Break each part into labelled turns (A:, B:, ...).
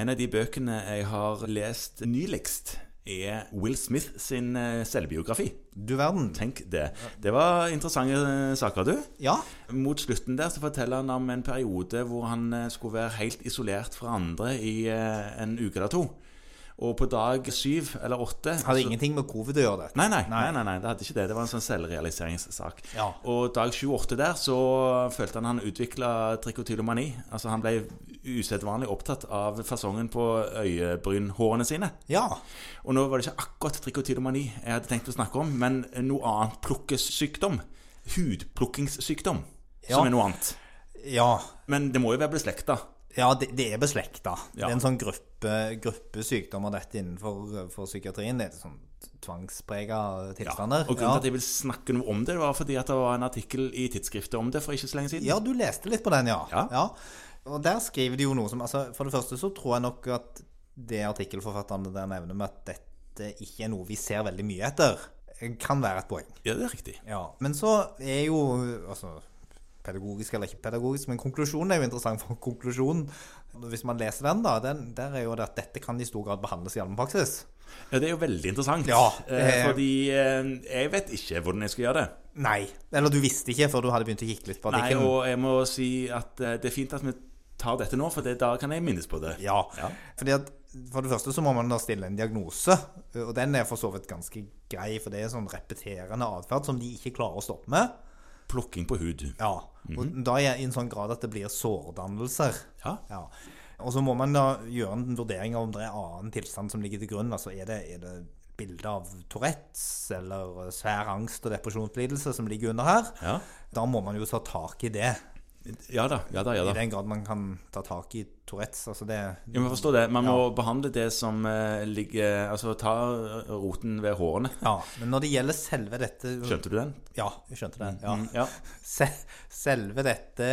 A: En av de bøkene jeg har lest nyligst, er Will Smith sin eh, selvbiografi.
B: Du verden.
A: Tenk det. Det var interessante eh, saker, du.
B: Ja.
A: Mot slutten der så forteller han om en periode hvor han eh, skulle være helt isolert fra andre i eh, en uke eller to. Og på dag syv eller åtte
B: Hadde
A: så-
B: ingenting med covid å gjøre, dette.
A: Nei nei, nei, nei, nei, det hadde ikke det. Det var en sånn selvrealiseringssak.
B: Ja.
A: Og dag 28 der så følte han han utvikla trikotylomani. Altså han ble usedvanlig opptatt av fasongen på øyebrynhårene sine.
B: Ja.
A: Og nå var det ikke akkurat trikotylomani jeg hadde tenkt å snakke om, men noe annet plukkesykdom. Hudplukkingssykdom,
B: Ja.
A: som er noe annet.
B: Ja.
A: Men det må jo være beslekta.
B: ja det, det er beslekta. Det
A: Ja.
B: er en sånn gruppe, gruppe sykdommer dette innenfor for psykiatrien. Det er sånn tvangsprega tilstander.
A: Og grunnen til at
B: ja.
A: jeg vil snakke noe om det, var fordi at det var en artikkel i tidsskriftet om det for ikke så lenge siden.
B: ja, du leste litt på den, ja.
A: Ja.
B: Og der skriver de jo noe som altså, For det første så tror jeg nok at det artikkelforfatterne der nevner med at dette ikke er noe vi ser veldig mye etter, kan være et poeng.
A: Ja, det er riktig.
B: Ja, men så er jo altså, Pedagogisk eller ikke pedagogisk, men konklusjonen er jo interessant. for konklusjonen, Hvis man leser den, da, den, der er jo det at dette kan i stor grad behandles i allmennpraksis.
A: Ja, Det er jo veldig interessant.
B: Ja,
A: eh,
B: eh,
A: fordi eh, jeg vet ikke hvordan jeg skal gjøre det.
B: Nei. Eller du visste ikke før du hadde begynt å kikke litt på
A: Nei,
B: artikkelen.
A: Og jeg må si at eh, det er fint at vi tar dette nå, for det, da kan jeg minnes på det.
B: Ja.
A: Ja.
B: Fordi at For det første så må man da stille en diagnose, og den er for så vidt ganske grei, for det er sånn repeterende atferd som de ikke klarer å stoppe med.
A: Plukking på hud.
B: Ja. Og da er i en sånn grad at det blir sårdannelser.
A: Mhm. Ja.
B: Ja. Og så må man da gjøre en vurdering av om det er annen tilstand som ligger til grunn. Altså er det, er det bilde av Tourettes eller eh, svær angst og depresjonslidelse som ligger under her?
A: Ja.
B: Da må man jo ta tak i det.
A: ja da. ja da, ja
B: I
A: da.
B: den grad man kan ta tak i Tourettes. Altså det
A: Jeg må forstå det. Man må behandle det som eh, ligger Altså ta roten ved hårene.
B: Ja. Men når det gjelder selve dette
A: Skjønte du den?
B: Ja, jeg skjønte det. Ja.
A: Mm, ja.
B: Se- Selve dette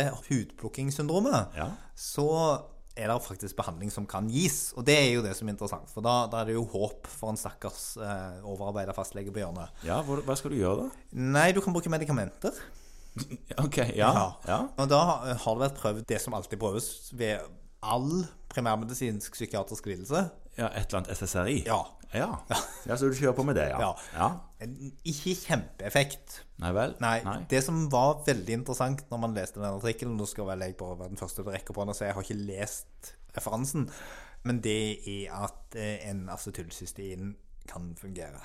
B: hudplukkingssyndromet,
A: Ja.
B: så er det faktisk behandling som kan gis. Og det er jo det som er interessant, for da, da er det jo håp for en stakkars eh, overarbeida fastlege på hjørnet.
A: Ja, hvor, hva skal du gjøre da?
B: Nei, du kan bruke medikamenter.
A: OK, ja. ja.
B: Og da har har det vært prøvd det som alltid prøves ved all primærmedisinsk psykiatrisk lidelse.
A: Ja, Et eller annet SSRI?
B: Ja.
A: ja. Ja, Så du kjører på med det, ja?
B: Ja. En- Ikke kjempeeffekt.
A: Nei vel?
B: Nei, Det som var veldig interessant når man leste den artikkelen Nå skal vel jeg bare være den første til å rekke på den og si jeg har ikke lest referansen. Men det er at eh, en acetylcystein kan fungere.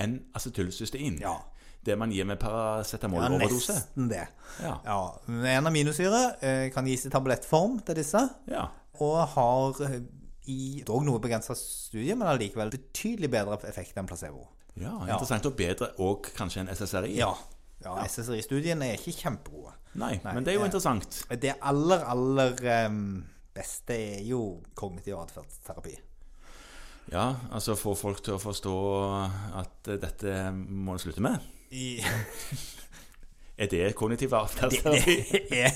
A: Enn acetylcystein?
B: Ja.
A: Det man gir med paracetamol-overdose?
B: nesten det.
A: Ja.
B: Ja. men En aminosyre eh, kan gis i tablettform til disse,
A: Ja.
B: og har eh, i dog noe begrensa studie, men allikevel betydelig bedre effekt enn placebo.
A: ja, interessant og bedre, og kanskje en SSRI?
B: Ja. ja SSRI-studiene er ikke kjempegode.
A: Nei,
B: Nei,
A: men det er jo
B: eh,
A: interessant.
B: Det aller, aller em, beste er jo kognitiv atferdsterapi.
A: Ja, altså få folk til å forstå at eh, dette må en slutte med. Er det kognitiv Altså, atferdsterapi?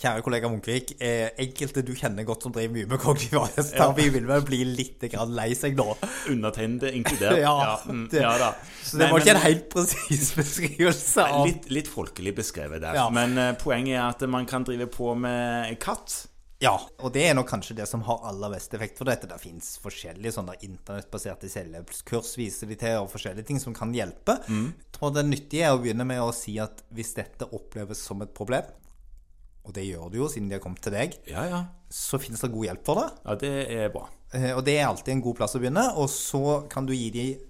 B: Kjære kollega Munkvik, eh, enkelte du kjenner godt som driver mye med kognitiv atferdsterapi, vil vel bli litt grann lei seg nå.
A: Undertegnede inkludert.
B: Ja,
A: mm,
B: det-
A: ja da.
B: Så det
A: Nei,
B: var ikke en
A: men-
B: helt presis beskrivelse av
A: Litt, litt folkelig beskrevet der.
B: Ja.
A: Men eh, poenget er at man kan drive på med katt.
B: Ja, og det er nok kanskje det som har aller best effekt for dette. Det fins forskjellige sånne internettbaserte selvhjelpskurs, viser de til, og forskjellige ting som kan hjelpe. Jeg tror det nyttige er å begynne med å si at hvis dette oppleves som et problem, og det gjør det jo siden de har kommet til deg,
A: Ja, ja.
B: så fins det god hjelp for det.
A: Ja, det er bra.
B: Eh, Og det er alltid en god plass å begynne. Og så kan du gi dem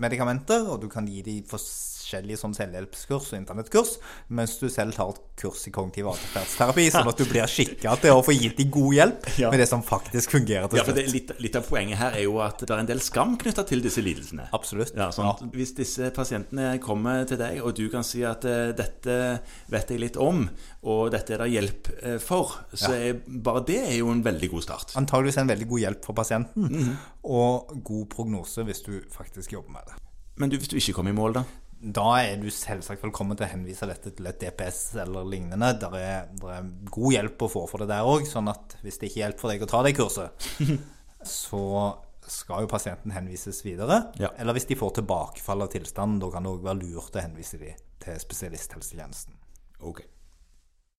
B: medikamenter, og du kan gi dem forskjellige sånn selvhjelpskurs og internettkurs, mens du selv tar et kurs i kognitiv atferdsterapi, sånn at du blir skikka til å få gitt dem god hjelp
A: Ja.
B: med det som faktisk fungerer til
A: Ja, for det,
B: slutt.
A: er litt, litt av poenget her er jo at det er en del skam knytta til disse lidelsene.
B: Absolutt.
A: Ja, sånn. at Hvis disse pasientene kommer til deg, og du kan si at eh, dette vet jeg litt om, og dette er det hjelp eh, for, så er, bare det er jo en veldig god start.
B: Antageligvis en veldig god hjelp for pasienten,
A: Mhm.
B: og god prognose hvis du faktisk jobber med det.
A: Men du, hvis du ikke kommer i mål, da?
B: Da er du selvsagt velkommen til å henvise dette til et DPS eller lignende. Der er, der er god hjelp å få for det der òg, sånn at hvis det ikke hjelper for deg å ta det kurset, så skal jo pasienten henvises videre.
A: Ja.
B: Eller hvis de får tilbakefall av tilstanden, da kan det òg være lurt å henvise de til spesialisthelsetjenesten.
A: Ok.